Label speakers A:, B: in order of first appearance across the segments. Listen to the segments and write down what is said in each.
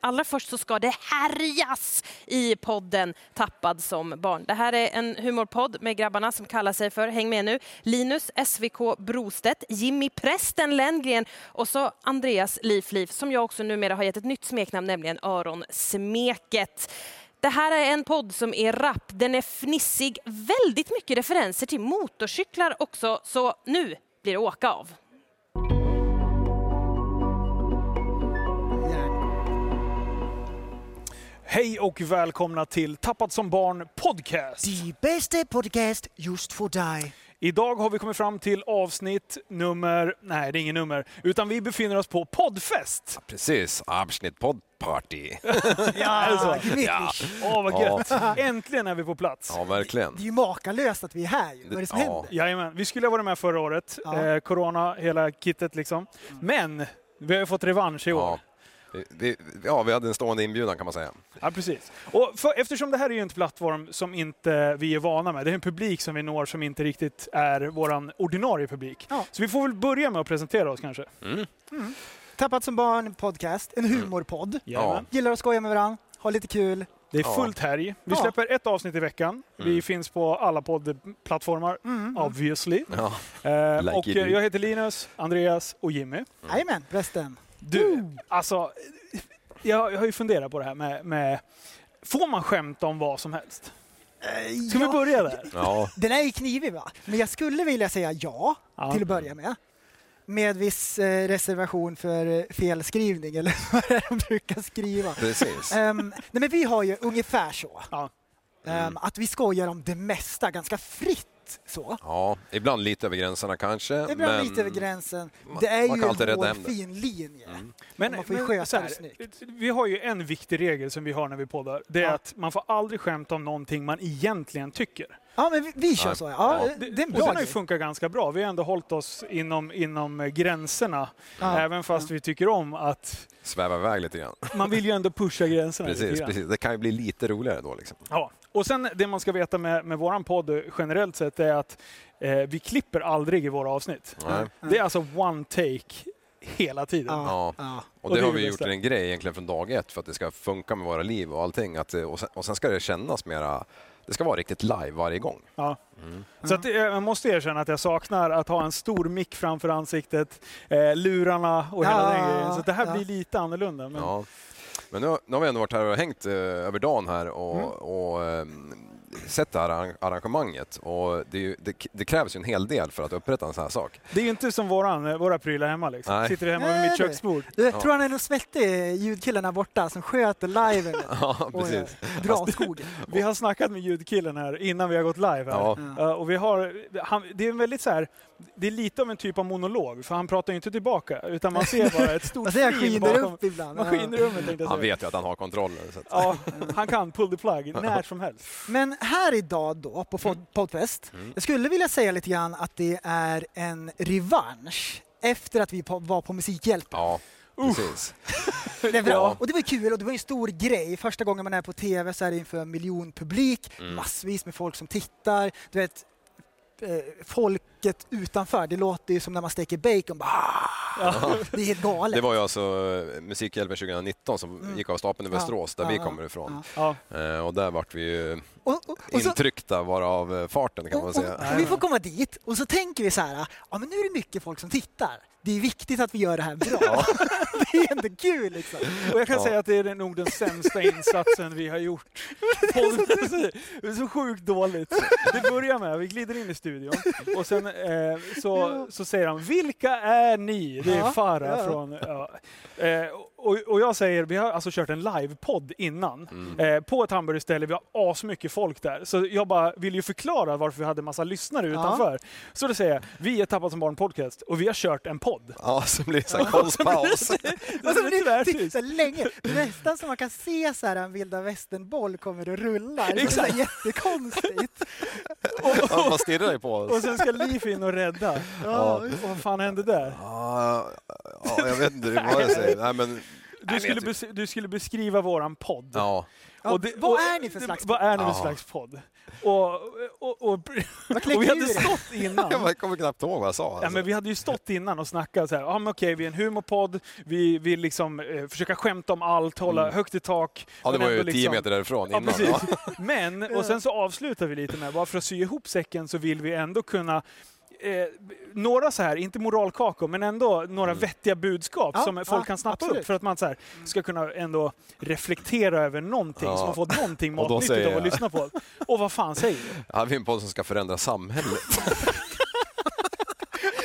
A: allra först så ska det härjas i podden Tappad som barn. Det här är en humorpodd med grabbarna som kallar sig för, häng med nu, Linus SVK Brostedt, Jimmy Prästen Lenngren och så Andreas Lifliv som jag också numera har gett ett nytt smeknamn, nämligen Öronsmeket. Det här är en podd som är rapp, den är fnissig, väldigt mycket referenser till motorcyklar också, så nu blir det åka av.
B: Hej och välkomna till Tappad som barn podcast.
C: Die bästa podcast just för dig.
B: Idag har vi kommit fram till avsnitt nummer, nej det är ingen nummer, utan vi befinner oss på poddfest.
D: Precis, avsnitt poddparty.
B: Ja,
C: Ah,
B: alltså.
D: Ja.
B: Åh vad
D: Ja.
B: gött. Äntligen är vi på plats.
D: ja, verkligen.
C: Det är ju makalöst att vi är här ju. Vad är det som
D: Ja.
C: händer?
B: Jajamän, vi skulle ha varit med förra året.
C: Ja.
B: Eh, corona, hela kittet liksom. Men vi har ju fått revansch i år.
D: Mm. Ja. Vi- Vi, ja, vi hade en stående inbjudan kan man säga.
B: Ja, precis. Och för, eftersom det här är ju en plattform som inte vi är vana med, det är en publik som vi når som inte riktigt är vår ordinarie publik.
C: Ja.
B: Så vi får väl börja med att presentera oss kanske.
C: Tappat som barn podcast, en humorpodd.
D: Ja.
C: Gillar att skoja med varandra, ha lite kul.
B: Det är
D: Ja.
B: fullt härj. Vi
C: Ja.
B: släpper ett avsnitt i veckan. Vi
D: Mm.
B: finns på alla poddplattformar,
C: Mm.
B: obviously.
D: Ja.
B: Eh,
D: Like
B: och
D: you do.
B: eh, jag heter Linus, Andreas och Jimmy.
C: Jajamän, resten.
B: Du, alltså, jag, jag har ju funderat på det här med, med... Får man skämta om vad som helst?
D: Eh,
B: Ska vi börja där?
D: ja.
C: Den är ju knivig va? Men jag skulle vilja säga ja,
B: Ja.
C: till att börja med. Med viss eh, reservation för eh, felskrivning eller vad det är de brukar skriva.
D: Precis.
C: Ehm, nej men vi har ju ungefär så.
B: Ja.
C: Ehm,
D: Mm.
C: Att vi skojar om det mesta ganska fritt så.
D: Ja, ibland lite över gränserna kanske.
C: Det beror
D: men
C: lite över gränsen. Det är
D: man
C: ju
D: kan alltid
C: en
D: rädda Mm.
C: hård
D: hem det.
C: fin linje.
B: Men,
C: Man får ju sköta
B: så här, eh,
C: det snyggt.
B: vi har ju en viktig regel som vi har när vi poddar. Det är
C: Ja.
B: att man får aldrig skämta om någonting man egentligen tycker.
C: Ja, men vi, vi kör
D: Nej.
C: så. Ja,
D: Ja.
C: Det, det är en
B: och
C: bra
B: den har ju
C: grej.
B: funkat ganska bra. Vi har ändå hållit oss inom, inom eh, gränserna.
C: Ja.
B: Även fast vi tycker om att
D: sväva iväg lite grann.
B: man vill ju ändå pusha gränserna lite
D: Precis,
B: grann.
D: precis. Det kan ju bli lite roligare då liksom.
B: Ja. Och sen det man ska veta med, med våran podd generellt sett är att eh, vi klipper aldrig i våra avsnitt.
D: Nej.
B: Det är alltså one take hela tiden.
C: Mm. Ja.
D: Ja.
C: Ja.
B: Och
D: Och, det,
B: det är
D: har
B: det
D: vi gjort
B: bästa.
D: till en grej egentligen från dag ett för att det ska funka med våra liv och allting. Att, eh, och, sen, och sen ska det kännas mera, det ska vara riktigt live varje gång.
B: Ja.
C: Mm.
B: Så att, eh, jag måste erkänna att jag saknar att ha en stor mick framför ansiktet, eh, lurarna och hela
C: Ja,
B: den grejen. Så att det här
C: ja.
B: blir lite annorlunda. Men,
D: Ja. Men nu, har- nu har vi ändå varit här och hängt eh, över dagen här och, och ehm, sett det här arrang- arrangemanget. Och det, är ju, det, k- det krävs ju en hel del för att upprätta en sån här sak.
B: Det är ju inte som våran, eh, våra prylar hemma. Liksom.
D: Nej.
B: Sitter hemma vid
C: Nej,
B: mitt
C: du.
B: köksbord.
C: Du, tror han är någon svettig ljudkillen här borta som sköter liven.
D: Ja,
C: Och, eh,
D: precis.
C: drar åt skogen.
B: Vi har snackat med ljudkillen här innan vi har gått live. Här.
D: Ja.
B: Eh, och vi har, han, det är en väldigt så här, det är lite av en typ av monolog, för han pratar ju inte tillbaka, utan man ser bara ett stort
C: Alltså, jag
B: skrin
C: skiner
B: bakom
C: upp ibland. Ja.
B: maskinrummet. tänkte jag
D: Han
B: säga.
D: vet ju att han har kontrollen. Så att,
B: Ja, han kan pull the plug när som helst.
C: Men här idag då, på
B: Mm.
C: pod- Podfest, jag skulle vilja säga lite grann att det är en revansch efter att vi po- var på Musikhjälpen.
D: ja, precis.
C: Det är bra.
D: Ja.
C: Och det var ju kul och det var ju en stor grej. Första gången man är på TV så är det inför en miljon publik,
D: Mm.
C: massvis med folk som tittar. Du vet, eh, folket utanför, det låter ju som när man steker bacon. Bara, "Ah!" Det är helt galet.
D: Det var ju alltså eh, Musikhjälpen 2019 som gick av stapeln i
C: Ja.
D: Västerås, där
C: Ja,
D: vi
C: ja,
D: kommer ifrån.
B: Ja.
D: Eh, Och där vart vi ju
C: och, och, och, så,
D: intryckta bara av eh, farten kan
C: och,
D: man
C: och,
D: säga.
C: och vi får komma dit och så tänker vi så här, ja men nu är det mycket folk som tittar. Det är viktigt att vi gör det här bra. det är ändå kul liksom.
B: Och jag kan
D: Ja.
B: säga att det är nog den sämsta insatsen vi har gjort. Podden- Det är så sjukt dåligt. Det börjar med, vi glider in i studion och sen eh, så, så säger han ”Vilka är ni?” Det är
C: Ja,
B: Farah
C: ja.
B: från... Ja. Eh, och, och jag säger, vi har alltså kört en livepodd innan
D: Mm.
B: eh, på ett hamburgerställe, vi har asmycket folk där. Så jag bara vill ju förklara varför vi hade massa lyssnare utanför. Så då säger jag, vi är Tappat som barn podcast och vi har kört en podd.
D: Ja, så blir det så här konstpaus.
B: Det är
C: Alltså, Det är
B: tvärtyst.
C: så länge. Nästan som man kan se så här en vilda västern-boll kommer och rullar. Det är så här jättekonstigt.
D: Ja, Man stirrar ju på
B: Och
D: oss.
B: sen ska Liv in och rädda. Ja. Och vad fan hände där?
D: Ja, ja, jag vet inte vad jag säger. Nej, men,
B: Du skulle, bes- du skulle beskriva våran podd.
D: Ja.
C: Ja, vad är ni för slags
B: Vad är ni för
D: Ja.
B: slags podd? Och, och, och, och vi hade stått innan.
D: Jag kommer knappt ihåg vad jag sa. alltså.
B: Ja, men vi hade ju stått innan och snackat så här, ah, men okej, vi är en humorpodd, vi vill liksom eh, försöka skämta om allt, hålla högt i tak.
D: Mm. ja, det
B: men
D: var ju
B: ändå liksom-
D: tio meter därifrån
B: Ja,
D: innan.
B: precis.
D: va?
B: Men, och sen så avslutar vi lite med, bara för att sy ihop säcken så vill vi ändå kunna eh, några så här, inte moralkakor, men ändå några
D: Mm.
B: vettiga budskap
C: Ja,
B: som folk
C: ja,
B: kan snappa
C: absolut. Mm.
B: upp för att man så här, ska kunna ändå reflektera över någonting,
D: Ja.
B: så man får någonting
D: Och då
B: matnyttigt
D: säger
B: av att
D: jag.
B: lyssna på. Och vad fan säger du?
D: Här har vi en podd som ska förändra samhället.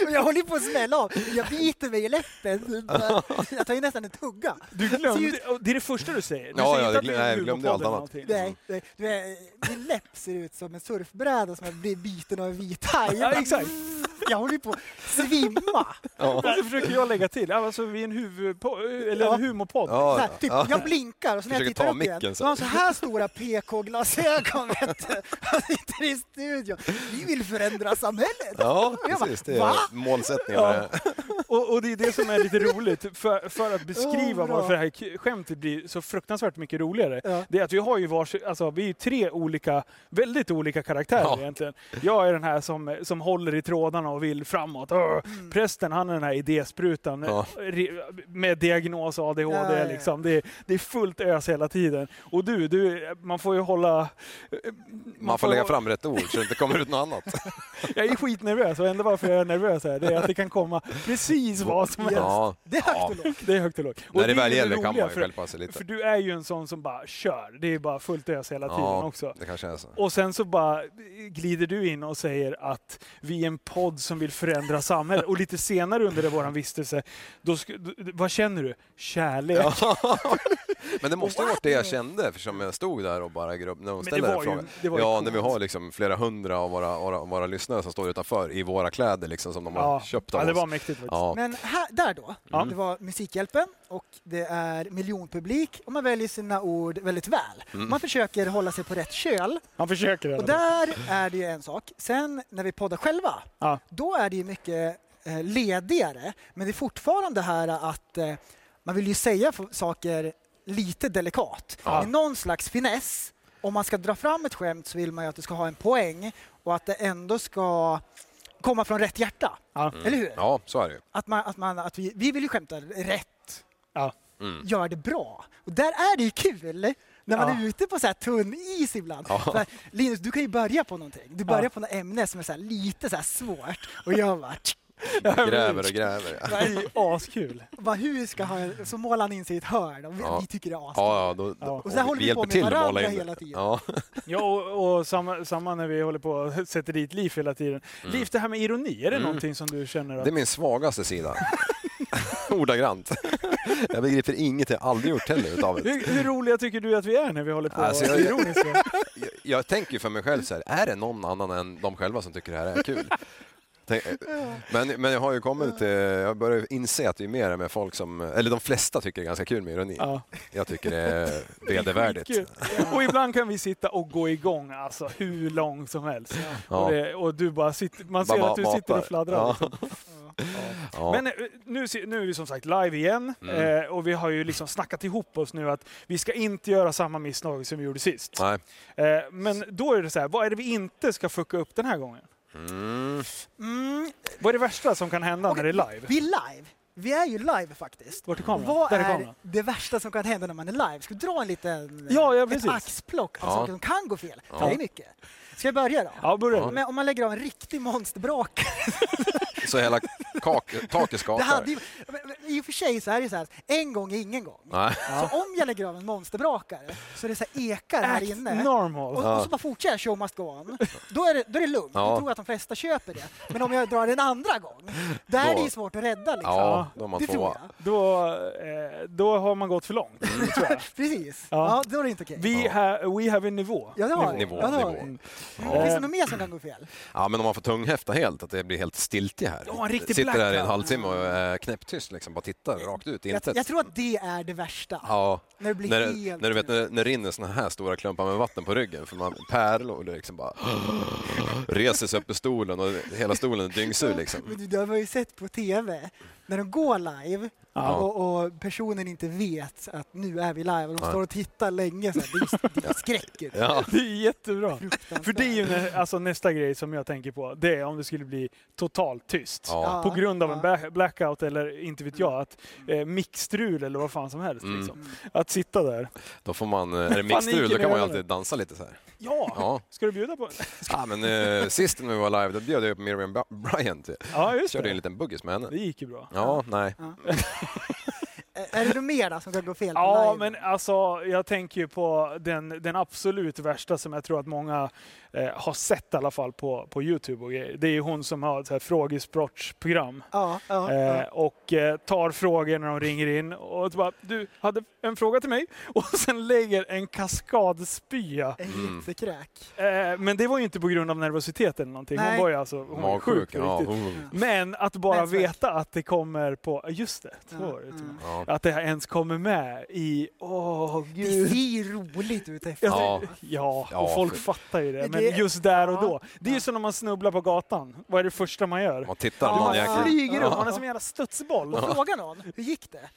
C: Men jag håller ju på att smälla av. Jag biter mig i läppen. typ. Jag tar ju nästan en tugga.
B: Du glömde, och det är det första du säger. Du
D: Ja,
B: säger
D: ja,
B: inte
D: det
B: att det är
D: glö- nej,
B: en
D: jag glömde allt
B: humorpodd eller
D: annat.
C: Nej,
B: någonting.
C: nej, du är- min läpp ser ut som en surfbräda som har blivit biten av en vit haj.
B: Ja, exakt.
C: Jag håller ju på att svimma.
B: Och så försöker jag lägga till, ja, alltså vi är en, huvudpo- eller en
C: Ja.
B: humorpodd.
D: Ja,
C: Så här, typ,
D: ja.
C: jag blinkar och så när jag
D: Försöker
C: tittar
D: ta
C: upp igen, så
D: micken så.
C: har han så här stora PK-glasögon. vet du. Han sitter i studion. Vi vill förändra samhället.
D: Ja,
C: Jag bara,
D: precis. Det
C: va?
D: är målsättningen.
B: Ja.
D: med det här.
B: Och, och det är det som är lite roligt, för, för att beskriva
C: Oh, bra.
B: varför det här k- skämtet blir så fruktansvärt mycket roligare.
C: Ja.
B: Det är att vi har ju vars, alltså vi är ju tre olika, väldigt olika karaktärer
D: Ja.
B: egentligen. Jag är den här som, som håller i trådarna och vill framåt. Åh,
C: Mm.
B: Prästen, han är den här idésprutan
D: Ja.
B: re- med diagnos ADHD
C: Ja, ja, ja.
B: liksom. Det är, det är fullt ös hela tiden. Och du, du man får ju hålla...
D: Man får lägga fram rätt ord så det inte kommer ut något annat.
B: Jag är skitnervös och enda varför jag är nervös här, det är att det kan komma precis vad som helst.
D: Ja.
C: Det är högt och lågt.
B: Det är högt och lågt. Och
D: När det
B: är
D: väl
B: det
D: gäller kan
B: roliga
D: man ju
B: för-
D: skälpa sig
B: För
D: lite.
B: du är ju en sån som bara kör. Det är bara fullt ös hela tiden
D: Ja,
B: också.
D: det kanske är så.
B: Och sen så bara glider du in och säger att vi är en podd som vill förändra samhället. Och lite senare under vår vistelse, då sk- d- d- vad känner du? Kärlek.
D: Men det måste ju varit det jag kände eftersom jag stod där och bara grubb, när de
B: det
D: ställde
B: var
D: den
B: ju-
D: frågan.
B: det var ju
D: ja,
B: coolt.
D: när vi har liksom flera hundra av våra, våra, våra lyssnare som står utanför i våra kläder liksom, som de har
B: ja.
D: köpt av
B: ja, det var
D: oss.
B: mäktigt faktiskt.
D: Ja.
C: Men här, där då,
B: Ja.
C: det var Musikhjälpen och det är miljonpublik och man väljer sina ord väldigt väl.
D: Mm.
C: Man försöker hålla sig på rätt köl
B: Han försöker i alla
C: och
B: fall.
C: där är det ju en sak. Sen när vi poddar själva,
B: Ja.
C: då är det ju mycket eh, ledigare. Men det är fortfarande det här att eh, man vill ju säga f- saker lite delikat.
D: Ja.
C: Med någon slags finess. Om man ska dra fram ett skämt så vill man ju att det ska ha en poäng och att det ändå ska komma från rätt hjärta.
B: Ja.
C: Eller hur?
D: Mm. ja, så är det ju.
C: Att, man, att, man, att vi, vi vill ju skämta rätt,
B: Ja.
D: Mm.
C: gör det bra. Och där är det ju kul när man
B: Ja.
C: är ute på så här tunn is ibland. För att, Linus, du kan ju börja på någonting. Du börjar på något ämne som är så här lite så här svårt och jag bara, tsk,
D: Gräver och gräver.
B: Det är ju askul.
C: bara hur ska han, så målar han in sig i ett hörn och vi,
D: Ja.
C: vi tycker det är askul.
D: Ja, ja, då,
B: Ja.
C: Och sen håller vi på med
D: att måla
C: varandra
D: in det.
C: hela tiden.
D: Ja.
B: Ja, och, och samma, samma när vi håller på och sätter dit Liv hela tiden. Liv, det här med ironi, är det någonting som du känner att...
D: Mm. Det är min svagaste sida. Ordagrant. Jag begriper inget, jag har aldrig gjort heller utav det.
B: Hur, hur roliga tycker du att vi är när vi håller på
D: Alltså,
B: och
D: jag-
B: är ironiska?
D: Jag, jag tänker ju för mig själv så här, är det någon annan än de själva som tycker det här är kul? Tänk- Men, men jag har ju kommit till, jag börjar inse att det är mer med folk som, eller de flesta tycker det är ganska kul med ironi.
B: Ja.
D: Jag tycker det är vedervärdigt.
B: Kul. Och ibland kan vi sitta och gå igång alltså, hur långt som helst.
D: Ja.
B: Och, det, och du bara sitter, man ser
D: Bara
B: att du
D: matar.
B: sitter och fladdrar.
D: Ja.
B: Liksom.
D: Ja. Mm.
B: Men eh, nu, se- nu är vi som sagt live igen eh, och vi har ju liksom snackat ihop oss nu att vi ska inte göra samma misstag som vi gjorde sist.
D: Nej.
B: Eh, men då är det så här, vad är det vi inte ska fucka upp den här gången?
D: Mm.
C: Mm,
B: Vad är det värsta som kan hända när det är live?
C: vi är live. Vi är ju live faktiskt.
B: Vart är kameran?
C: Vad
B: Där är
C: är
B: kameran.
C: det värsta som kan hända när man är live? Ska vi dra en liten
B: Ja, ja,
C: ett
B: precis.
C: axplock av
D: Ja.
C: saker som kan gå fel? För det är mycket. Ska jag börja då?
B: Ja, börja du.
C: Men om man lägger av en riktig monsterbrak.
D: Så hela kak, taket
C: Det
D: skakar.
C: hade ju, men- men I och för sig så är det så här, en gång är ingen gång.
D: Nej.
C: Så om jag lägger av en monsterbrakare så är det så här ekar här inne.
B: Act normal.
C: Och, och så bara fortsätter jag, show must go on. Då är det, då är det lugnt.
D: Ja.
C: Jag tror att de flesta köper det. Men om jag drar den andra gång, där är det ju
D: Då-
C: svårt att rädda. Liksom.
D: Ja, då är man
C: det tror
D: tvåa.
C: jag.
B: Då, eh, då har man gått för långt, tror jag.
C: Precis.
B: Ja.
C: Ja. då är det inte okej.
B: Vi ha, we have a nivå.
C: Ja, det har vi.
D: Nivå,
C: Ja, det har
D: nivå.
C: vi.
D: Ja.
C: Finns det något mer som kan gå fel?
D: Ja, men om man får tunghäfta helt, att det blir helt stiltje här.
B: Ja, en riktig
D: Sitter här i en
B: blackout.
D: halvtimme och är knäpptyst, liksom, bara tittar rakt ut i
C: Jag,
D: intet.
C: jag tror att det är det värsta.
D: Ja,
C: När det blir
D: när,
C: helt...
D: när du vet när, när det rinner såna här stora klumpar med vatten på ryggen, för man pärlor och det liksom bara reser sig upp ur stolen och hela stolen är dyngsur liksom.
C: Men du, du har ju sett på TV när de går live
B: Ja.
C: och, och personen inte vet att nu är vi live och de
D: Nej.
C: står och tittar länge så här, det, är- det är skräckigt.
D: Ja.
B: Det är jättebra. För det är ju nä- alltså, nästa grej som jag tänker på. Det är om det skulle bli totalt tyst.
D: Ja.
B: På grund av en
C: Ja.
B: ba- blackout eller inte vet jag, att eh, mixstrul eller vad fan som helst.
D: Mm.
B: Liksom. Att sitta där.
D: Då får man, eh, är det
B: Paniken
D: mixstrul, då kan man ju
B: över.
D: alltid dansa lite så här.
B: Ja.
D: Ja.
B: Ska du bjuda på?
D: Ja, men eh, sist när vi var live, då bjöd jag upp Miriam Ba- Bryant.
B: Ja, just
D: Körde en
B: det.
D: liten buggis med henne.
B: Det gick ju bra.
D: Ja, nej.
C: Är det något mer då som kan gå fel på
B: Ja,
C: live?
B: men alltså jag tänker ju på den, den absolut värsta som jag tror att många eh, har sett i alla fall på, på Youtube och grejer. Det är ju hon som har ett så här frågesportsprogram.
C: Ja, ja,
B: Eh,
C: ja.
B: och eh, tar frågor när de ringer in och så bara du hade en fråga till mig och sen lägger en kaskadspya.
C: En
D: Mm.
C: jättekräk.
B: Eh, men det var ju inte på grund av nervositet eller någonting. Hon
C: Nej.
B: var ju alltså hon var ju sjuk
D: Magsjuk.
B: på
D: Ja,
B: riktigt.
D: oh.
B: Men att bara
C: Nätverk.
B: veta att det kommer på, just det, så
C: Ja,
B: var det till
C: ja.
B: och med.
D: ja.
B: Att det här ens kommer med i, åh
C: Det ser
B: gud. Alltså,
C: ju roligt ut efter.
B: Ja,
D: Ja.
B: ja,
D: Ja,
B: och folk
D: för-
B: fattar ju det.
C: Men
B: Men
C: det-
B: just där och
C: ja.
B: då. Det är ju som när man snubblar på gatan. Vad är det första man gör?
D: Man tittar,
C: Ja,
D: någon
C: ja.
D: jäkel.
B: Flyger upp, man är som en jävla studsboll.
C: Och fråga någon, hur gick det?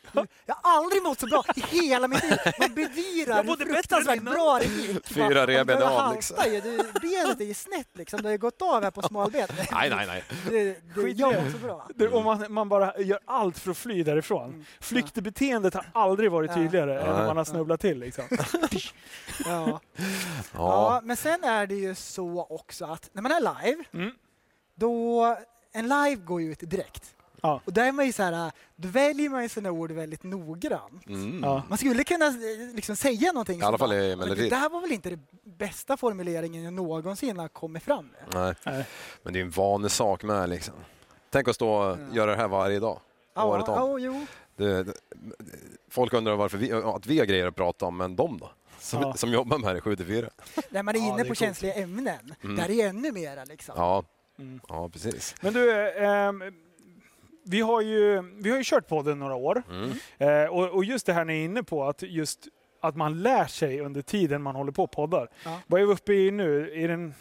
C: Jag har aldrig mått så bra i hela mitt liv. Man bedyrar
B: Jag
C: hur
B: mådde bättre
C: fruktansvärt
B: än innan.
C: bra det gick.
D: Fyra
C: Man- man
D: reben
C: börjar
D: av,
C: halta
D: liksom.
C: ju. Du, benet är ju snett liksom. Det har ju gått av här på smalbenet.
D: Nej, nej, nej.
C: Det, det,
B: Skit i
C: jag
B: det.
C: mår så bra.
B: Det, och man, man bara gör allt för att fly därifrån. Flyktbeteendet har aldrig varit
C: Mm. Ja.
B: tydligare än när
D: Nej.
B: man har snubblat till. Liksom.
C: Ja. Ja,
D: Ja.
C: men sen är det ju så också att när man är live,
B: Mm.
C: då... En live går ju ut direkt.
B: Ja.
C: Och där är man ju så här, då väljer man ju sina ord väldigt noggrant.
D: Mm.
B: Ja.
C: Man skulle kunna eh, liksom säga någonting.
D: I
C: som
D: alla fall
C: bara,
D: i
C: "Men
D: melodin."
C: Det här var väl inte den bästa formuleringen jag någonsin har kommit fram med.
D: Nej.
B: Nej.
D: Men det är ju en vanesak med liksom. Tänk att stå och göra det här varje dag.
C: Ja,
D: Året om.
C: ja, jo.
D: Det, det, folk undrar varför vi, att vi har grejer att prata om, men de då? Som,
B: Ja.
D: som jobbar med det 7 till 4.
C: När man är
B: Ja,
C: inne
B: det är
C: på
B: coolt.
C: känsliga ämnen.
D: Mm.
C: Där är det ännu mera liksom.
D: Ja.
B: Mm.
D: ja, precis.
B: Men du, ehm, vi, har ju, vi har ju kört podden några år.
D: Mm.
B: Eh, och, och just det här ni är inne på, att just att man lär sig under tiden man håller på och poddar.
C: Ja.
B: Vad är vi uppe i nu? Är den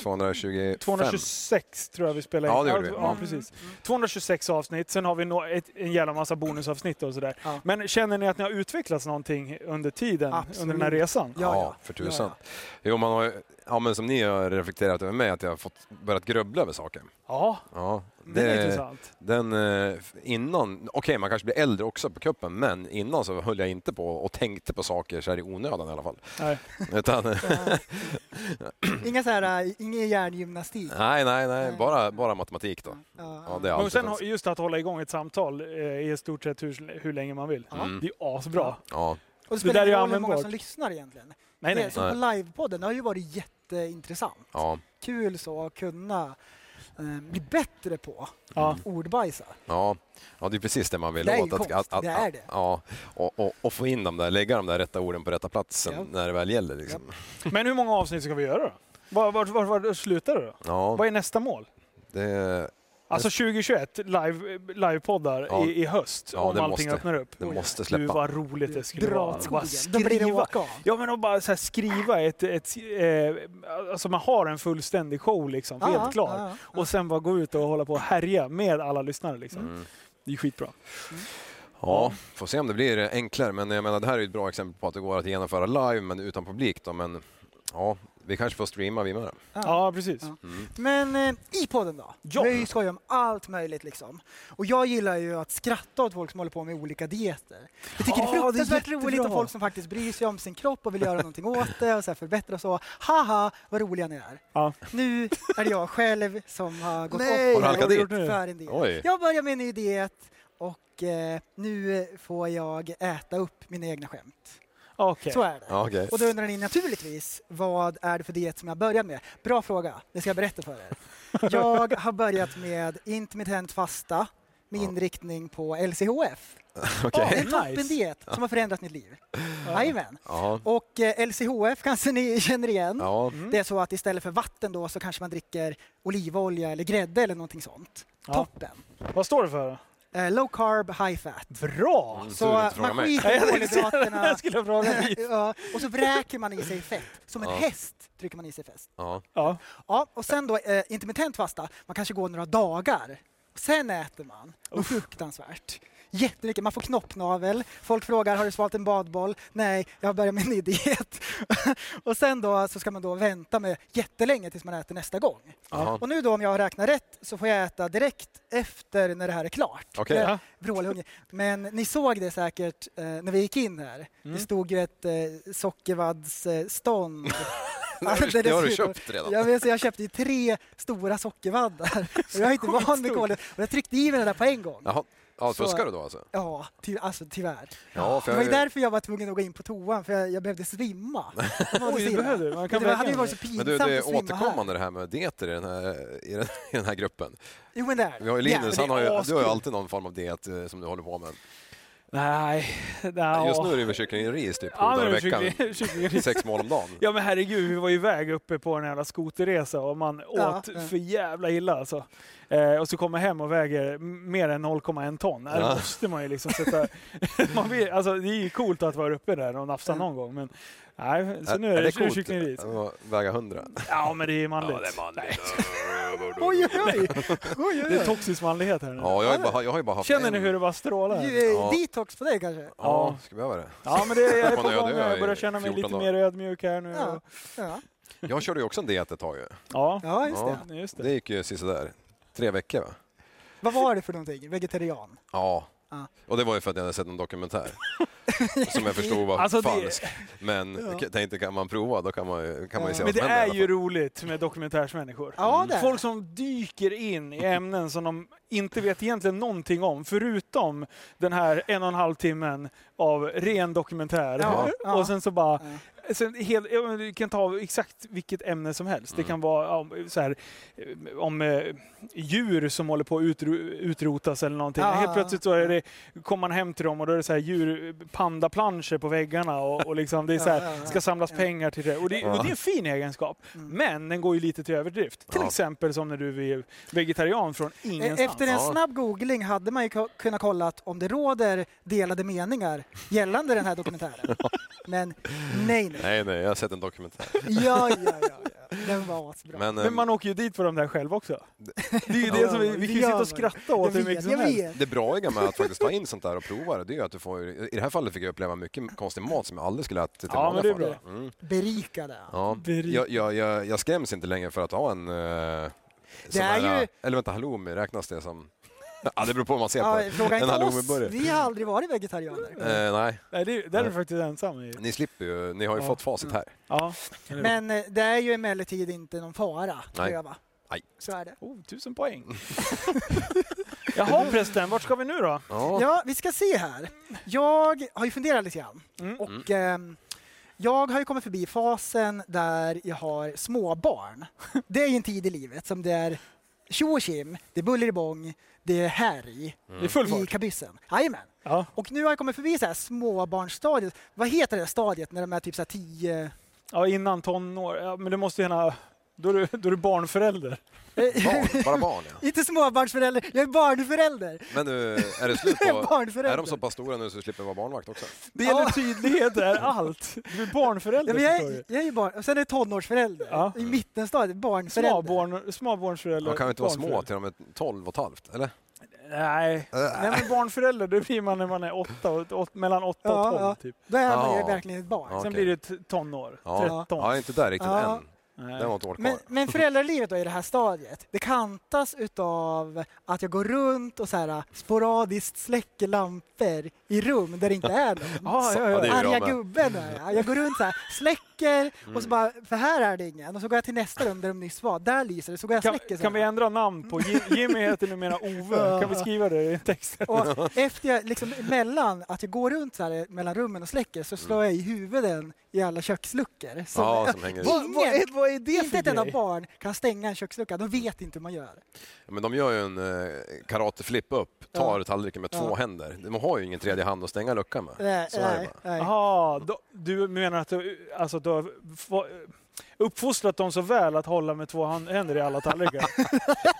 D: 225.
B: 226 tror jag vi spelar in.
D: Ja, det gjorde vi.
B: Ja,
D: Mm.
B: precis. 226 avsnitt, sen har vi nå- ett, en jävla massa bonusavsnitt och sådär.
C: Ja.
B: Men känner ni att ni har utvecklats någonting under tiden,
C: Absolut.
B: under den här resan?
C: Ja,
D: Ja,
C: ja.
D: för tusan. Jo, man har, ju- ja, men som ni har reflekterat över mig, att jag har fått börjat grubbla över saker.
B: Ja,
D: Ja, det,
B: det är intressant.
D: Den, eh, innan, okej man kanske blir äldre också på kuppen, men innan så höll jag inte på och tänkte på saker så här i onödan i alla fall.
B: Nej.
D: Utan,
C: eh, Inga så här, äh, ingen hjärngymnastik.
D: nej, nej, nej, bara, bara matematik då. Ja, det är
B: Men
D: allt.
B: sen har- just att hålla igång ett samtal eh, är i stort sett hur, hur länge man vill.
C: Ja.
D: Mm.
B: Det är asbra.
D: Ja,
C: Och det
B: där
C: spelar
B: är ju
C: ingen roll hur många
B: användbart.
C: som lyssnar egentligen.
B: Nej,
C: Det,
B: nej.
C: som på livepodden, det har ju varit jätteintressant.
D: ja,
C: Kul så att kunna eh, bli bättre på
B: Ja.
C: ordbajsa.
D: ja. Ja, det är precis det man vill
C: Det är ju
D: åt.
C: konst, det är det.
D: Ja, och, och, och få in de där, lägga de där rätta orden på rätta platsen
C: Ja.
D: när det väl gäller. Liksom.
B: Men hur många avsnitt ska vi göra då? Var, var, var, var slutar det då?
D: Ja,
B: Vad är nästa mål?
D: det,
B: Alltså 2021, live, livepoddar
D: Ja.
B: i, i höst
D: Ja,
B: om
D: det
B: allting
D: måste-
B: öppnar upp.
D: det måste
B: Du,
D: släppa.
B: vad roligt det skulle
C: Dra
B: vara.
C: åt
B: Bara
C: skogen, då blir det
B: skriva.
C: åka av.
B: Ja, men att bara så här skriva ett... ett eh, alltså man har en fullständig show liksom,
C: Ja,
B: helt klar.
C: ja, ja.
B: Och sen bara gå ut och hålla på och härja med alla lyssnare liksom.
D: Mm.
B: Det är skitbra.
D: Ja, får se om det blir enklare. Men jag menar, det här är ju ett bra exempel på att det går att genomföra live men utan publik. Då, men ja, vi kanske får streama vi med. Mm. det.
B: Ja, precis.
C: Ja. Men eh, i podden då?
B: Ja.
C: Vi har ju skojat om allt möjligt liksom. Och jag gillar ju att skratta åt folk som håller på med olika dieter. Jag tycker det är
B: Ja, det är
C: fruktansvärt roligt
B: jättebra.
C: att folk som faktiskt bryr sig om sin kropp och vill göra någonting åt det och så här förbättra och så. Haha, vad roliga ni är.
B: Ja.
C: Nu är det jag själv som har gått
B: Nej,
D: Har du
C: upp
D: halkat
B: vad har du
D: dit?
B: gjort nu?
C: för en diet.
D: Oj.
C: Jag börjar med en ny diet och eh, nu får jag äta upp mina egna skämt.
B: Okej.
C: Så är det.
D: Ja, okej.
C: Och då undrar ni naturligtvis, vad är det för diet som jag börjat med? Bra fråga, det ska jag berätta för er. Jag har börjat med intermittent fasta med inriktning på LCHF.
D: Okej.
C: Det är en
B: Nice.
C: toppendiet som har förändrat mitt liv. Jajamän.
D: Ja.
C: Och eh, LCHF kanske ni känner igen.
D: Ja.
C: Det är så att istället för vatten då så kanske man dricker olivolja eller grädde eller någonting sånt.
B: Ja.
C: Toppen.
B: Vad står det för då?
C: Eh, low carb, high fat.
B: Bra!
D: Mm, tur du
C: Så
D: inte frågar
C: man
D: mig.
C: skiter i kolhydraterna.
B: Jag skulle fråga dig.
C: Ja, och så vräker man i sig fett. Som en
D: Ja.
C: häst trycker man i sig fett.
D: Ja.
B: Ja. Mm.
C: Ja, och sen då eh, intermittent fasta. Man kanske går några dagar Sen äter man. Något fruktansvärt. Jättemycket. Man får knoppnavel. Folk frågar har du svalt en badboll? Nej, jag har börjat med en ny diet. och sen då så ska man då vänta med jättelänge tills man äter nästa gång.
D: Aha.
C: Och nu då om jag har räknat rätt så får jag äta direkt efter när det här är klart.
D: Okej.
C: Jag är
B: Ja.
C: vrålhungrig. Men ni såg det säkert eh, när vi gick in här.
D: Mm.
C: Det stod ju ett eh, sockervaddsstånd. Eh, stånd.
D: Det har du-
C: Alldeles
D: det har du
C: ut.
D: köpt redan.
C: Jag, vet, så jag köpte ju tre stora sockervaddar. Och jag är inte
B: Sjukt
C: van vid
B: stort.
C: kolen. Och jag tryckte i mig den där på en gång.
D: Jaha. Ja,
C: Så-
D: fuskar du då alltså?
C: Ja, ty, alltså tyvärr.
D: Ja, för
C: det var ju
D: jag-
C: därför jag var tvungen att gå in på toan, för jag, jag behövde svimma. Jag mådde
B: Oj, det
C: svimma.
B: behövde du. Man kan
C: Men det hade ju
B: verkligen
C: varit så
B: det.
C: pinsamt
D: Men du, det
C: att
D: är
C: svimma
D: återkommande det här med dieter i den här, i den, i den här gruppen.
C: Här. Jo, men det är det.
D: Vi har ju
C: Ja,
D: Linus,
B: det
D: han har ju,
B: är
D: du har ju
B: askul.
D: alltid någon form av diet eh, som du håller på med.
B: Nej. nja.
D: Just nu är det väl kyckling i ris typ, sju
B: Ja,
D: dagar i
B: men
D: veckan.
B: kyckling- kyckling i ris.
D: Sex mål om dagen.
B: Ja men herregud, vi var ju iväg uppe på en jävla skoterresa och man
C: Ja,
B: åt
C: ja.
B: för jävla illa alltså. Eh, och så kommer jag hem och väger m- mer än 0,1 ton. Här
D: Ja.
B: måste man ju liksom sätta... man vill, alltså, det är ju coolt att vara uppe där och nafsa någon gång men... Nej, så nu är, det, nu är det
D: coolt
B: kyckling i ris.
D: att väga hundra?
B: Ja men det är manligt.
D: manligt.
C: Oj, oj, oj. oj,
B: Det är
C: oj, oj.
B: toxisk manlighet här nu.
D: Ja, jag har ju bara, jag har ju bara haft
B: Känner
D: en...
B: ni hur det bara strålar?
C: Ju, eh,
D: Ja.
C: Detox på dig kanske?
D: Ja, ska behöva det.
B: Ja men det är, jag är på
D: Man är
B: gång
D: ödmjuk
B: här. jag börjar
D: i
B: känna mig
D: 14
B: lite
D: dagar.
B: mer ödmjuk här nu.
C: Ja.
B: Ja,
C: Ja,
D: Jag körde ju också en diet ett tag ju.
B: ja.
C: ja just det.
D: Ja.
B: just det.
D: Det gick ju sådär. Tre veckor va?
C: Vad var det för någonting? Vegetarian?
D: Ja.
C: Ja.
D: Och det var ju för att jag hade sett en dokumentär. som jag förstod var
B: Alltså, det-
D: falsk. Men jag tänkte, kan man prova då kan man ju, kan man ju
C: Ja.
D: se
B: Men
D: vad
B: det
D: som händer i
B: är
D: alla
B: ju
D: fall.
B: roligt med dokumentärsmänniskor.
D: Mm.
C: Ja, det är
B: Folk
C: det.
B: som dyker in i ämnen som de inte vet egentligen någonting om, förutom den här en och en halv timmen av ren dokumentär.
C: Ja, ja.
B: Och sen så bara...
C: Ja.
B: Sen hel, ja, men du kan ta exakt vilket ämne som helst. Det kan vara ja, om, så här, eh, om eh, djur som håller på att utro, utrotas eller någonting.
C: Ja,
B: Helt
C: Ah, ja,
B: plötsligt så är det, kommer man hem till dem och då är det så här djur, pandaplanscher på väggarna och, och liksom det är så här,
C: Ja, ja, Mm. ja.
B: ska samlas
C: Ja.
B: pengar till det. Och det, och det är en fin egenskap. Men den går ju lite till överdrift. Till
D: Ja.
B: exempel som när du är vegetarian från
C: E-
B: ingenstans.
C: Efter en
D: Ja.
C: snabb googling hade man ju ko- kunnat kolla om det råder delade meningar gällande den här dokumentären. Men nej, nej.
D: Nej, nej, jag har sett en dokumentär.
C: Ja, ja, ja. ja. Den var asbra.
D: Men, eh,
B: Men man åker ju dit på de där själv också. Det är ju
C: Ja,
B: det som vi, vi kan ju
C: det
B: sitta
C: gör
B: och skratta åt hur
C: jag
B: mycket
C: vet,
B: som
C: jag
B: helst.
C: vet.
D: ehm, det braiga med att faktiskt ta in sånt där och prova det, det är ju att du får, ju- i det här fallet fick jag uppleva mycket konstig mat som jag aldrig skulle ha ätit i
B: Ja, men
D: vanliga
B: det är
D: fall. Mm.
C: Berikade.
D: Ja.
B: Berikande.
D: Jag, jag, jag, jag skräms inte längre för att ha en... Eh, sån
C: är
D: här, eh,
C: ju-
D: Eller vänta, halloumi, räknas det som... ja, det beror på hur man ser på
C: Ja,
D: det.
C: fråga
D: En
C: inte oss.
D: halloumiburgare.
C: Vi har aldrig varit vegetarianer.
D: Eh, nej,
B: Nej, det, är- där är du faktiskt ensam. i.
D: ni slipper ju. Ni har ju
B: Ja.
D: fått facit här.
B: Ja.
C: Men eh, det är ju emellertid inte någon fara, tror
D: Nej.
C: jag va?
D: Nej.
C: Så är det.
B: Oh, tusen poäng. Jaha prästen, vart ska vi nu då?
D: Ja.
C: Ja, vi ska se här. Jag har ju funderat lite grann.
B: Mm.
C: Och, ehm, jag har ju kommit förbi fasen där jag har småbarn. Det är ju en tid i livet som det är tjo och tjim, det är buller det är härj
B: Det är full
C: i
B: fart.
C: kabyssen. Jajamän.
B: Ja.
C: Och nu har jag kommit förbi så här småbarnsstadiet. Vad heter det stadiet när de är typ så här 10...
B: ja, innan tonår. Ja, men det måste ju gärna... Då är, du, då är du barnförälder.
D: Mm. Barn, bara barn ja.
C: Inte småbarnsförälder, jag är barnförälder!
D: Men du, är det slut
C: Jag är
D: på...
C: barnförälder.
D: Är de så pass stora nu så du slipper vara barnvakt också?
B: Det gäller
C: Ja.
B: tydlighet, det är allt. Du är
C: Ja,
B: barnförälder
C: men jag,
B: förstår du.
C: är, jag är ju barn... Och sen är det tonårsförälder.
B: Ja.
C: I mittenstadiet, barnförälder.
B: Småbarn, småbarnsförälder.
D: De kan ju inte vara små typ.
B: barnförälder.
D: till de är 12 och ett halvt, eller?
B: Nej. Nej, men barnförälder det blir man när man är åtta, och- åt, mellan åtta och
C: Ja,
B: tolv.
C: ja.
B: Typ.
C: Då är man ju
D: Ja.
C: verkligen ett barn.
D: Ja,
B: Sen
D: okej.
B: blir det ett tonår,
D: Ja.
B: 13.
D: Ja, inte där riktigt
C: Ja.
D: än.
B: Nej.
D: Det var ett år kvar.
C: Men, men föräldralivet då i det här stadiet, det kantas utav att jag går runt och så här sporadiskt släcker lampor i rum där det inte är någon.
B: Ja, ja,
D: Ja, det
B: ja.
D: är ju
C: Arga
D: bra med. Mm.
C: gubben är jag. Jag går runt så här, släcker och så bara, för här är det ingen. Och så går jag till nästa rum där de nyss var, där lyser det, så går jag och
B: Kan,
C: släcker. Så
B: kan vi
C: här.
B: ändra namn på Jim- Jimmy heter numera Ove? Kan vi skriva det i texten?
C: Och efter jag, liksom mellan att jag går runt så här mellan rummen och släcker så slår jag i huvuden i alla köksluckor. Så
D: Mm. Ja, som hänger i.
C: Vad- vad är-
B: vad är det
C: inte ett enda barn kan stänga en kökslucka, de vet inte hur man gör.
D: Ja, Men de gör ju en eh, karateflip upp, tar tallriken med två händer. De har ju ingen tredje hand att stänga luckan med.
C: Eh, Nej,
D: Så är det bara.
C: nej.
B: Jaha, då- du menar att du, alltså, att du har få- uppfostrat dem så väl att hålla med två hand- händer i alla tallrikar?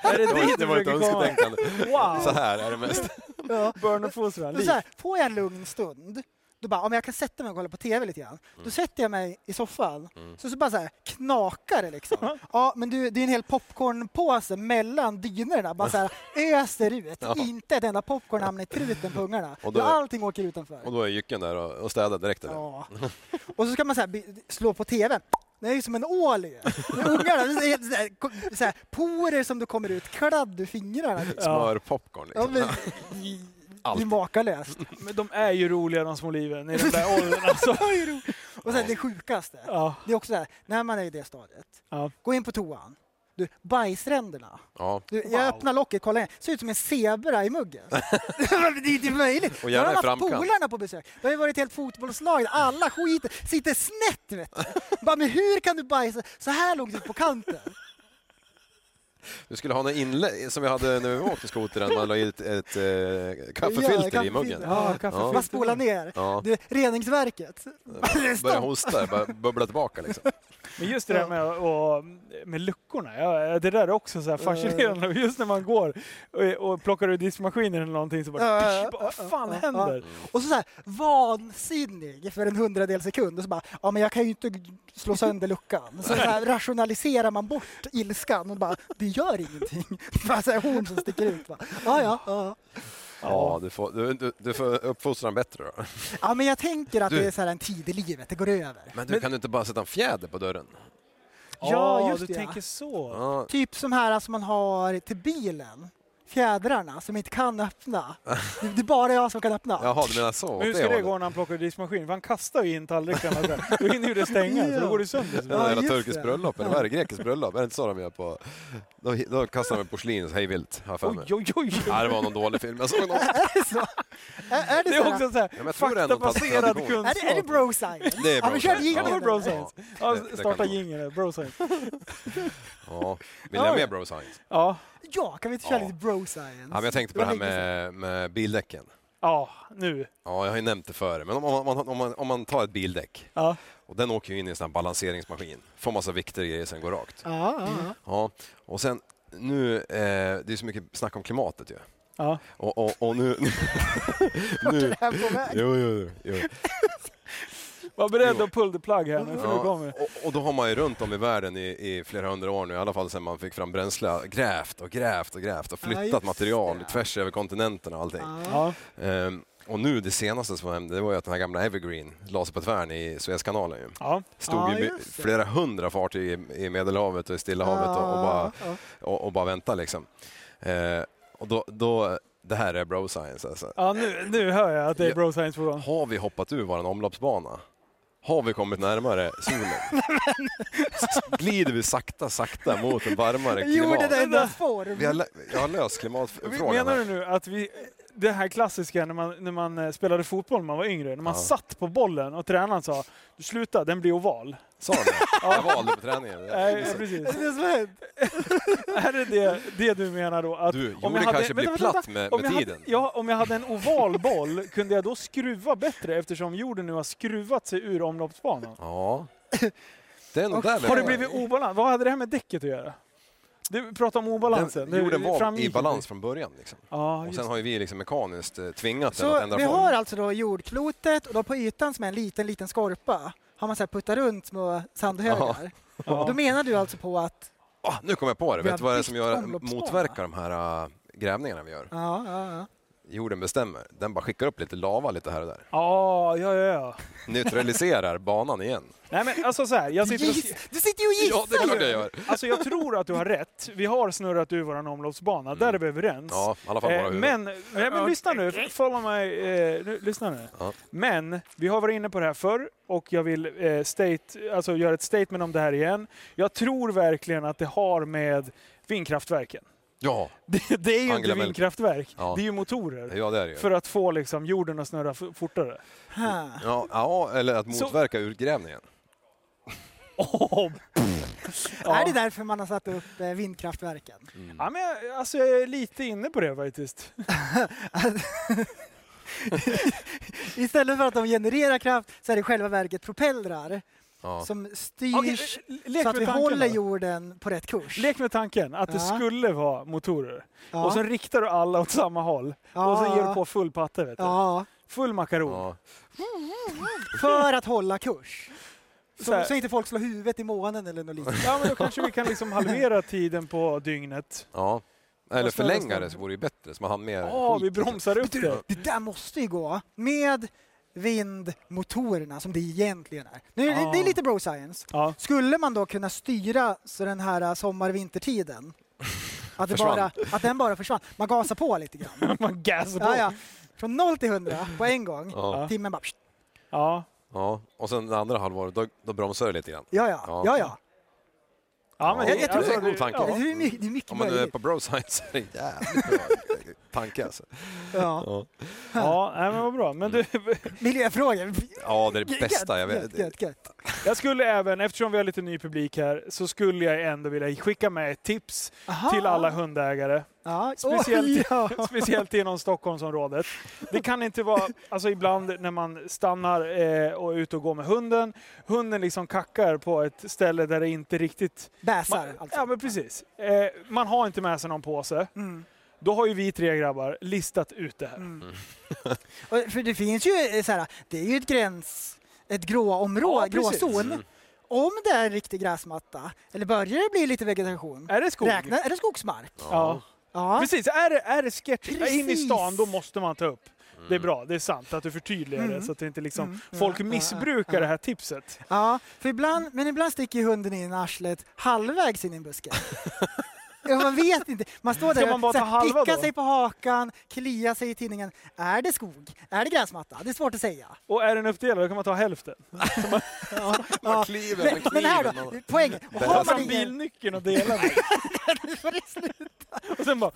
B: är det
D: Det var,
B: dit
D: det
B: du
D: var ett
B: försöker komma?
D: önsketänkande.
B: Wow!
D: Så här är det mest.
C: Ja.
B: Barn och fostran,
C: Men så här, får jag en lugn stund, Då bara, ja, men jag kan sätta mig och kolla på TV lite grann. Då
D: Mm.
C: sätter jag mig i soffan, så, så bara så här, knakar det liksom. ja, men du, det är en hel popcornpåse mellan dynorna, bara så här, öser ut. Inte ett enda popcorn hamnar i truten på ungarna.
D: Och då-
C: Ja, allting åker utanför.
D: Och då är jycken där och, och städar direkt. Eller?
C: Ja. Och så ska man så här, by- slå på TV. Det är ju som en ål ju. Med Ungarna, det är helt så här, ko- så här, porer som du kommer ut, kladd ur fingrarna. Liksom.
D: Smör popcorn
C: Ja,
D: liksom.
C: men, det är
D: Allt.
C: makalöst.
B: Men de är ju roliga de små liven i den där åldern alltså.
C: Och sen det sjukaste,
B: Ja,
C: det är också så här, när man är i det stadiet,
B: ja.
C: gå in på toan, du, bajsränderna.
D: Ja.
C: Du, jag
B: Wow.
C: öppnar locket, kollar in, ser ut som en zebra i muggen. det är inte möjligt.
D: Och gärna
C: Då
D: i
C: har de haft
D: framkant.
C: polarna på besök. Det har ju varit ett helt fotbollslag där alla skiter, sitter snett vet du. Bara, men hur kan du bajsa så här långt ut på kanten?
D: Du skulle ha en inlä- som vi hade när vi åkte skotern, man la i ett, ett eh, kaffefilter i muggen.
B: Ja, kaffe
D: Ja.
C: Man spolar ner.
D: Ja.
C: Det, reningsverket.
D: Börja
C: Stopp.
D: hosta, bara bubbla tillbaka liksom.
B: Men just det där med, och, med luckorna, ja, det där är också så här fascinerande. Just när man går och, och plockar ur diskmaskinen eller någonting så bara...
C: Ja, ja, ja,
B: Vad fan
C: ja,
B: händer?
C: Och så, så här, vansinnig för en hundradel sekund och så bara, ja men jag kan ju inte slå sönder luckan. Så, så här, rationaliserar man bort ilskan och bara, det gör ingenting. Bara så här, horn som sticker ut. Bara, ja, ja, ja.
D: Ja, du får, du, du, du får uppfostra den bättre då.
C: ja, men jag tänker att
D: Du-
C: det är så här en tid i livet, det går över.
D: Men du, kan du inte bara sätta en fjäder på dörren?
C: Ja,
B: Ah,
C: just
B: du
C: det, ja.
B: tänker så.
D: Ja,
C: Typ som här alltså, man har till bilen, fjädrarna som inte kan öppna. Det det är bara jag som kan öppna.
D: jaha, du menar så?
B: Men hur
D: åt
B: ska det
D: hållet?
B: gå när han plockar ur diskmaskinen? För han kastar ju in tallrikarna. så här. Då hinner ju det stänga, så då går det sönder.
D: Det
C: Ja,
D: är något jävla
C: just
D: turkiskt
C: det.
D: bröllop, eller vad är det? Grekiskt bröllop? Är det inte så de gör på... Då, då kastar de porslin hej vilt, har jag för mig.
B: Oj, oj, oj.
D: Ja, det var någon dålig film jag såg någon.
C: Är det så? Är, är det,
B: Det
C: så
B: är
C: här-
B: också så här,
D: men jag tror det är ändå
B: faktabaserad
D: tradition.
B: kunskap.
C: är det, är det bro science?
D: Det är
C: Ja,
D: bro
C: men kör
B: Ja, det
D: science.
C: jingeln
B: var
C: där.
B: bro science. Ja,
D: Ja, det- det kan
B: starta
D: det vara.
B: jingeln där, bro science.
D: Ja, vill jag med Bro Science?
B: Ja,
C: Ja, kan vi inte köra
D: Ja.
C: lite bro science?
D: Ja, men jag tänkte på det här med, med bildäcken.
B: ja nu.
D: Ja, jag har ju nämnt det före, men om, om, man, om, man, om man tar ett bildäck
B: Ja.
D: och den åker ju in i en sån här balanseringsmaskin, får massa vikter och grejer sen går rakt.
C: Ja, ja,
D: Ja, och sen nu, eh, det är så mycket snack om klimatet ju.
B: Ja.
D: Och, och, och nu... nu
C: ja. Här på väg.
D: jo, jo, jo.
B: Var beredd att pull the plug här nu, för nu
D: Ja,
B: kommer
D: och, och då har man ju runt om i världen i, i flera hundra år nu, i alla fall sedan man fick fram bränsle, grävt och grävt och grävt och
C: Ja, just
D: flyttat material
C: det.
D: tvärs över kontinenterna och allting.
B: Ja,
D: Ehm, och nu det senaste som hände, det var ju att den här gamla Evergreen la sig på tvärn i Suezkanalen. Ju.
B: ja.
D: Stod
C: Ja,
D: ju
C: just det.
D: flera hundra fartyg i, i Medelhavet och i Stilla havet och, och, bara,
C: Ja, ja.
D: och, och bara väntade liksom. Ehm, och då, då, det här är bro science alltså.
B: ja nu, nu hör jag att det är
D: Ja.
B: bro science på gång.
D: Har vi hoppat ur vår omloppsbana? Har vi kommit närmare solen? S- Glider vi sakta, sakta mot en varmare
C: Jo, det
D: klimat?
C: där är en form.
D: Vi har, lä- jag har löst klimatfrågan.
B: Menar du
D: Här.
B: nu att vi, det här klassiska när man, när man eh, spelade fotboll när man var yngre, när man
D: Ja.
B: satt på bollen och tränaren sa du sluta, den blir oval.
D: Sa du det? Jag valde på träningen.
B: Nej, precis.
C: Det är det som har hänt.
B: Är det, det det du menar då? Att
D: Du, jorden kanske blir
B: vänta, vänta,
D: platt med,
B: Om
D: med
B: jag
D: tiden.
B: Hade, ja, om jag hade en oval boll, kunde jag då skruva bättre eftersom jorden nu har skruvat sig ur omloppsbanan?
D: Ja. Det är nog
C: Och
D: där vi
B: Har det
D: är.
B: blivit obalans? Vad hade det här med däcket att göra? Du pratade om obalansen.
D: Den, jorden
B: Det
D: var
B: framgick
D: i
B: inte.
D: balans från början. Liksom.
B: Ja,
D: Och
B: just
D: sen har ju vi liksom mekaniskt eh, tvingat den att
C: Så
D: ändra
C: vi
D: form.
C: har alltså då jordklotet och då på ytan som är en liten, liten skorpa har man så här puttat runt små sandhögar.
B: ja.
C: Då menar du alltså på att...
D: Ah, nu kommer jag på det.
C: Vi
D: Vet du
C: har
D: vad det är som
C: byggt
D: gör,
C: omloppsbana.
D: motverkar de här äh, grävningarna vi gör?
C: Ja, ja, ja.
D: Jorden bestämmer. Den bara skickar upp lite lava lite här och där.
B: Ja, ja, ja, ja.
D: Neutraliserar banan igen.
B: Nej men alltså så här, jag sitter och...
C: Giss, du sitter ju och
D: Ja, det är
C: gissar!
D: klart jag
C: ju.
D: gör.
B: Alltså jag tror att du har rätt. Vi har snurrat ur våran omloppsbana, där är vi överens.
D: Mm. Ja, i alla fall
B: Eh,
D: våra huvuden.
B: men, nej, men lyssna nu, follow my, eh, nu, lyssna nu.
D: Ja.
B: Men, vi har varit inne på det här förr och jag vill eh, state, alltså, göra ett statement om det här igen. Jag tror verkligen att det har med vindkraftverken.
D: Ja,
B: Det, det är ju
D: Angela
B: inte
D: Merkel.
B: vindkraftverk,
D: Ja.
B: det är ju motorer.
D: ja det är det
B: För
D: ju.
B: att få liksom, jorden att snurra f- fortare.
C: Ha.
D: Ja, ja, eller att
B: Så-
D: motverka urgrävningen.
B: Åh, ja.
C: Är det därför man har satt upp eh, vindkraftverken?
D: Mm.
B: Ja, men, jag- alltså, jag är lite inne på det faktiskt.
C: Istället för att de genererar kraft så är det i själva verket propellrar
D: Ja.
C: som styrs
B: Okej, eh, lek
C: så att
B: med
C: vi
B: tanken
C: håller
B: då.
C: jorden på rätt kurs.
B: Lek med tanken att det
C: Ja.
B: skulle vara motorer.
C: Ja.
B: Och sen riktar du alla åt samma håll.
C: Ja.
B: Och sen ger du på full patte. Vet du.
C: Ja,
B: Full makaron.
D: Ja.
C: För att hålla kurs.
B: Så
C: Så,
B: här.
C: så inte folk slår huvudet i månen eller något liknande.
B: Ja, men då kanske vi kan liksom halvera tiden på dygnet.
D: ja. Eller
B: Nästan,
D: förlänga
B: nästan.
D: det så vore det ju bättre så man hann mer
B: Ja, vi
D: skit. liksom.
B: bromsar upp det.
C: Det där måste ju gå med vindmotorerna som det egentligen är. Nu, det, det är lite bro science.
B: Ja.
C: Skulle man då kunna styra så den här äh, sommar-vintertiden att, det
D: Försvann.
C: bara, att den bara försvann? Man gasar på lite grann.
B: Man gasar på.
C: Ja, ja. Från 0 till 100 på en gång.
D: Ja.
C: Timmen bara... pst.
B: Ja.
D: Ja. Och sen det andra halvåret, då, då bromsar du lite grann.
C: Ja, ja. ja, ja.
B: Ja, men
D: Ja,
B: det-
C: jag tror
B: alltså,
C: det är en
D: god tanke.
B: ja.
C: Det, är mycket, det är mycket
D: Om man nu är
C: möjligt.
D: på bro science är det en jävligt bra tanke alltså.
C: Ja.
D: Ja,
B: Ja, nej, men vad bra. Men du,
C: Miljöfrågor.
D: ja det är det bästa jag
C: Gött,
D: vet.
C: gött, gött.
B: jag skulle även, eftersom vi har lite ny publik här, så skulle jag ändå vilja skicka med ett tips
C: Aha.
B: till alla hundägare.
C: Ja.
B: Speciellt-
C: Oj, ja.
B: Speciellt inom Stockholmsområdet. Det kan inte vara, alltså ibland när man stannar eh, och är ute och går med hunden, hunden liksom kackar på ett ställe där det inte riktigt...
C: Bäsar,
B: Man, ja
C: alltså.
B: men precis. Eh, man har inte med sig någon påse.
C: Mm.
B: Då har ju vi tre grabbar listat ut det här.
C: Mm. Och, för det finns ju eh, så här, det är ju ett gräns, ett gråområde,
B: Ja, precis.
C: gråzon.
D: Mm.
C: Om det är riktig gräsmatta, eller börjar det bli lite vegetation,
B: Är det skog?
C: räkna, är det skogsmark?
B: Ja.
C: Ja.
B: Precis, är det, är det sketch
C: Precis.
B: in i stan då måste man ta upp. Det är
D: Mm.
B: bra, det är sant att du förtydligar det
C: Mm.
B: så att det inte liksom,
C: Mm.
B: folk
C: Ja, ja,
B: missbrukar
C: ja.
B: det här tipset.
C: ja för ibland, men ibland sticker ju hunden in i arslet halvvägs in i en buske. Ja, man vet inte. Man står där
B: Ska man bara
C: och så här
B: ta halva
C: pickar
B: då?
C: sig på hakan, kliar sig i tinningen. Är det skog? Är det gräsmatta? Det är svårt att säga.
B: Och är den uppdelad då kan man ta hälften.
D: Man Mm. kliver
C: Men,
D: med
C: men här då,
D: kniven.
C: poängen. Och
D: Det
C: har
B: Ta
D: är
C: man
B: fram
C: ingen...
B: bilnyckeln och dela den.
C: Nu får det sluta.
B: Och sen bara,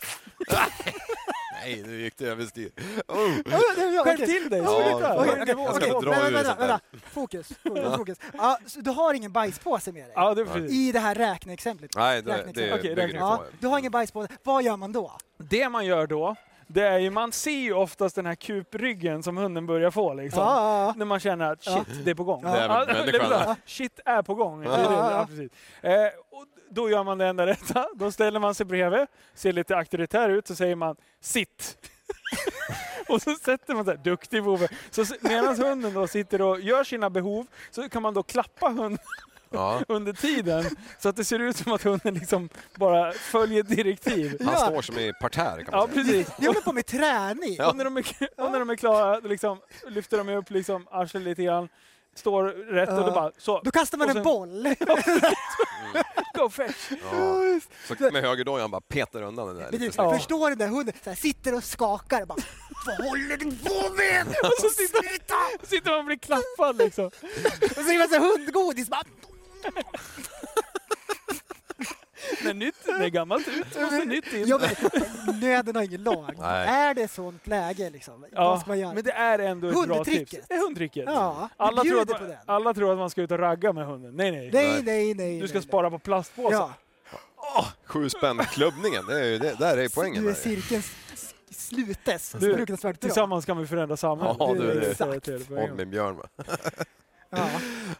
D: Nej, nu gick det överstyr. Oh.
C: Ja, ja, ja,
B: skärp
C: okej.
B: till dig!
D: Ja,
B: sluta.
D: ja,
C: Okej,
D: Jag
C: okej,
D: ska
C: okej.
D: dra
C: Vänta,
D: ur
C: vänta,
D: sånt där.
C: vänta. Fokus, fokus, fokus. Ja, så du har ingen bajspåse med dig?
B: Ja, det är precis.
C: I det här räkneexemplet?
D: Nej, det, det
C: Räkneexempel.
D: bygger
B: Okej,
D: du
B: räkna.
D: på.
C: Ja, du har ingen bajspåse, vad gör man då?
B: Det man gör då, det är ju, man ser ju oftast den här kupryggen som hunden börjar få liksom.
C: Ja,
B: När man känner att shit, det är på gång.
D: Det är väl
B: det är
D: människan.
B: bra. Shit är på gång. Det är det.
C: Ja.
B: Ja, precis. Eh, och då gör man det enda rätta. Då ställer man sig bredvid, ser lite auktoritär ut, så säger man sitt. och så sätter man sig duktig vovve. Så s- medan hunden då sitter och gör sina behov så kan man då klappa hunden
D: Ja.
B: under tiden så att det ser ut som att hunden liksom bara följer direktiv.
D: Han
C: Ja.
D: står som i parterre kan
B: Ja,
D: man säga.
B: precis.
C: jag håller på med träning.
D: Ja.
B: Och när de är, och när de är klara då liksom, lyfter de upp liksom, arslet lite grann, står rätt och då
C: Ja.
B: bara så,
C: Då kastar man
B: Och sen-
C: en boll.
B: go fetch!
D: Mm. Ja. Så med högerdojan bara petar undan den där. lite
C: Precis.
D: snyggt.
B: Ja.
C: Förstår du den där hunden? Så här, sitter och skakar och bara Vad håller du på med?
B: Och så sitter, sitter man och blir klappad liksom.
C: Och så är det massa hundgodis. Bara,
B: När nytt, när gammalt ut måste nytt in.
C: ja, men, nöden har ingen lag.
D: Nej.
C: Är det sånt läge liksom? Vad
B: Ja,
C: ska man göra?
B: men det är ändå ett bra
C: Hundtricket.
B: tips. Det är hundtricket.
C: Ja,
B: Alla, tror
C: bjuder på
B: att,
C: den.
B: alla tror att man ska ut och ragga med hunden. Nej, nej.
C: Nej, nej, nej.
B: du ska
C: nej,
B: spara på plastpåsar.
C: nej. Ja.
D: Sju spänn klubbningen, det är ju det, där är poängen.
C: Nu är
D: där.
C: cirkeln s- slutes.
B: Du,
C: Fruktansvärt bra.
B: Tillsammans kan vi förändra samhället.
D: Ja,
B: Det
D: du,
B: är mm.
D: det-
B: jag säger till på en
D: Håll
B: gång.
D: med Björn va?
C: Ja.
D: Ja.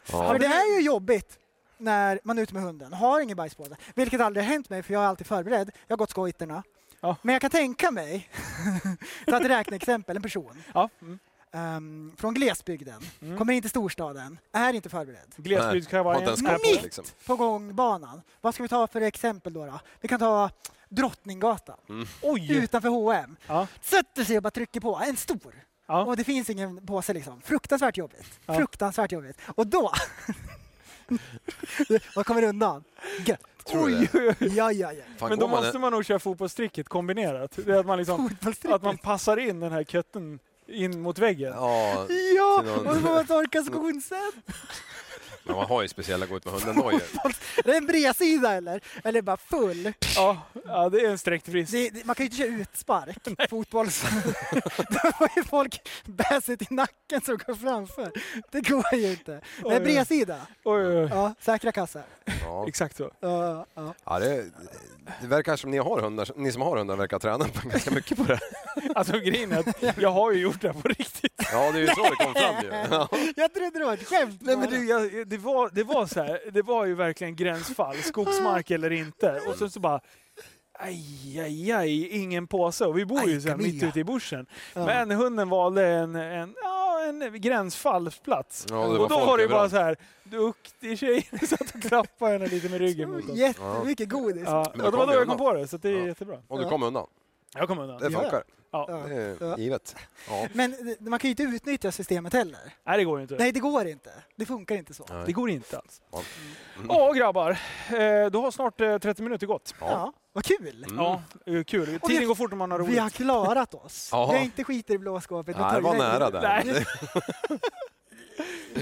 C: För det är ju jobbigt när man är ute med hunden, har ingen bajspåse. Vilket aldrig har hänt mig för jag är alltid förberedd. Jag har gått skojterna.
B: Ja.
C: Men jag kan tänka mig, ta ett räkneexempel, en person
B: Ja, mm.
C: ehm, från glesbygden, kommer in till storstaden, är inte förberedd.
D: Nej, har
B: Glesbygdskavajen.
D: inte ens
B: är
D: koll
B: på.
D: på det, liksom.
C: På gångbanan. Vad ska vi ta för exempel då? då? Vi kan ta Drottninggatan,
D: Mm,
B: Oj!
C: utanför H&M.
B: Ja,
C: Sätter sig och bara trycker på, en stor.
B: ja.
C: Och det finns ingen påse liksom. Fruktansvärt jobbigt.
B: Ja.
C: Fruktansvärt jobbigt. Och då... Vad kommer undan? Gött.
D: Tror du
B: Oj, oj, oj.
C: Ja, ja, ja.
D: Fan,
B: Men
D: går
B: då
D: man
B: måste man nog köra fotbollstricket kombinerat. Det är att man, liksom,
C: Fotbollsstricket.
B: att man passar in den här kötten in mot väggen.
D: Ja,
C: Ja,
D: till någon-
C: och så får man torka skon sen.
D: men man har ju speciella gå ut med hunden dojor.
C: Är det en bredsida eller? Eller bara full?
B: Ja, ja det är en sträckt frist.
C: Det, det, man kan ju inte köra utspark, fotbolls... Då får ju folk bäset i nacken som går framför. Det går ju inte.
B: Oj, oj.
C: Nej, bredsida.
B: Oj, oj, oj.
C: Ja, säkra kassar.
D: Ja.
B: Exakt så.
C: Ja, ja.
D: Ja, det, det verkar som ni, har hundar, ni som har hundar verkar träna på ganska mycket på det här.
B: Alltså grejen är att jag har ju gjort det här på riktigt.
D: Ja, det är ju så det kom fram ju. Ja.
C: Jag trodde det var ett skämt.
B: Nej, men det, jag, det, var, det var så här, det var ju verkligen gränsfall, skogsmark eller inte. Och sen så bara, aj, aj, aj, ingen påse. Och vi bor ju
C: Aj,
B: så här mitt
C: Camilla.
B: ute i bushen.
C: Ja.
B: Men hunden valde en, en, ja, en gränsfallsplats.
D: Ja, det var
B: och då
D: folk
B: var det ju bara
D: överallt.
B: så här, duktig tjej. Jag satt och klappade henne lite med ryggen mot oss.
C: Jättemycket godis.
B: Ja,
D: Men då
B: och det var
D: kom
B: då
D: vi
B: jag kom
D: undan.
B: på det, så att det är
D: Ja.
B: jättebra.
D: Och du
C: Ja.
D: kom undan.
B: Jag kom undan.
D: Det
C: Ja.
D: funkar.
B: Ja.
C: Ja.
D: Det är
C: Ja.
D: givet. Ja.
C: Men det- man kan ju inte utnyttja systemet heller.
B: Nej, det går ju inte.
C: Nej, det går inte. Det funkar inte så.
D: Nej.
B: Det går inte alls.
D: Ja.
B: Ja, grabbar. eh, Då har snart eh, 30 minuter gått.
D: Ja.
C: Ja, vad kul!
D: Mm.
B: Ja, det är kul.
C: Och
B: Tiden
C: vi-
B: går fort om man har roligt.
C: Vi har klarat oss. Vi
D: Ja.
C: har inte skiter i blå skåpet.
D: Nej, det var nära där.
B: Nej.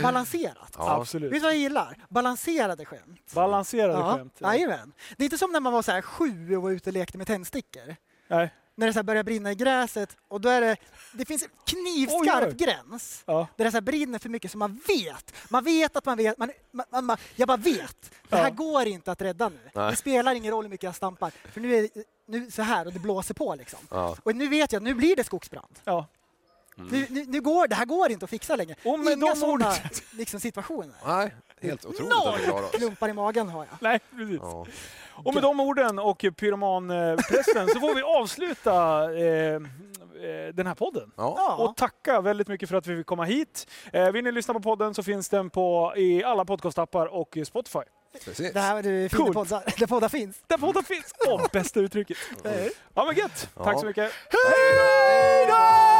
C: Balanserat.
D: Ja.
B: Absolut.
C: Vet du vad jag gillar? Balanserade skämt.
B: Balanserade
C: Ja,
B: skämt.
C: jajamän. Det är inte som när man var så här sju och var ute och lekte med tändstickor.
B: Nej.
C: När det så här börjar brinna i gräset och då är det, det finns en knivskarp
B: Oj,
C: gräns.
B: Ja.
C: Där det så här brinner för mycket så man vet. Man vet att man vet. Man, man, man, man, jag bara vet. Det här
B: Ja.
C: går inte att rädda nu.
D: Nej.
C: Det spelar ingen roll hur mycket jag stampar. För nu är det nu så här och det blåser på liksom.
D: Ja.
C: Och nu vet jag, nu blir det skogsbrand.
B: Ja.
C: Nu, nu, nu går, det här går inte att fixa längre.
B: Och med
C: Inga
B: de
C: sådana
B: orden-
C: liksom, situationer.
D: Nej, helt otroligt att vi klarar
C: Noll
D: oss.
C: klumpar i magen har jag.
B: Nej, precis.
D: Ja.
B: Och med de orden och pyromanpressen så får vi avsluta eh, eh, den här podden.
D: Ja.
C: Ja.
B: Och tacka väldigt mycket för att vi fick komma hit. Eh, vill ni lyssna på podden så finns den på i alla podcastappar och i Spotify.
D: precis.
C: Det här du finner
B: Coolt.
C: poddar, där poddar finns.
B: Där podden finns! Åh, bästa uttrycket! Ja men gött!
D: Ja.
B: Tack så mycket!
D: Hej då!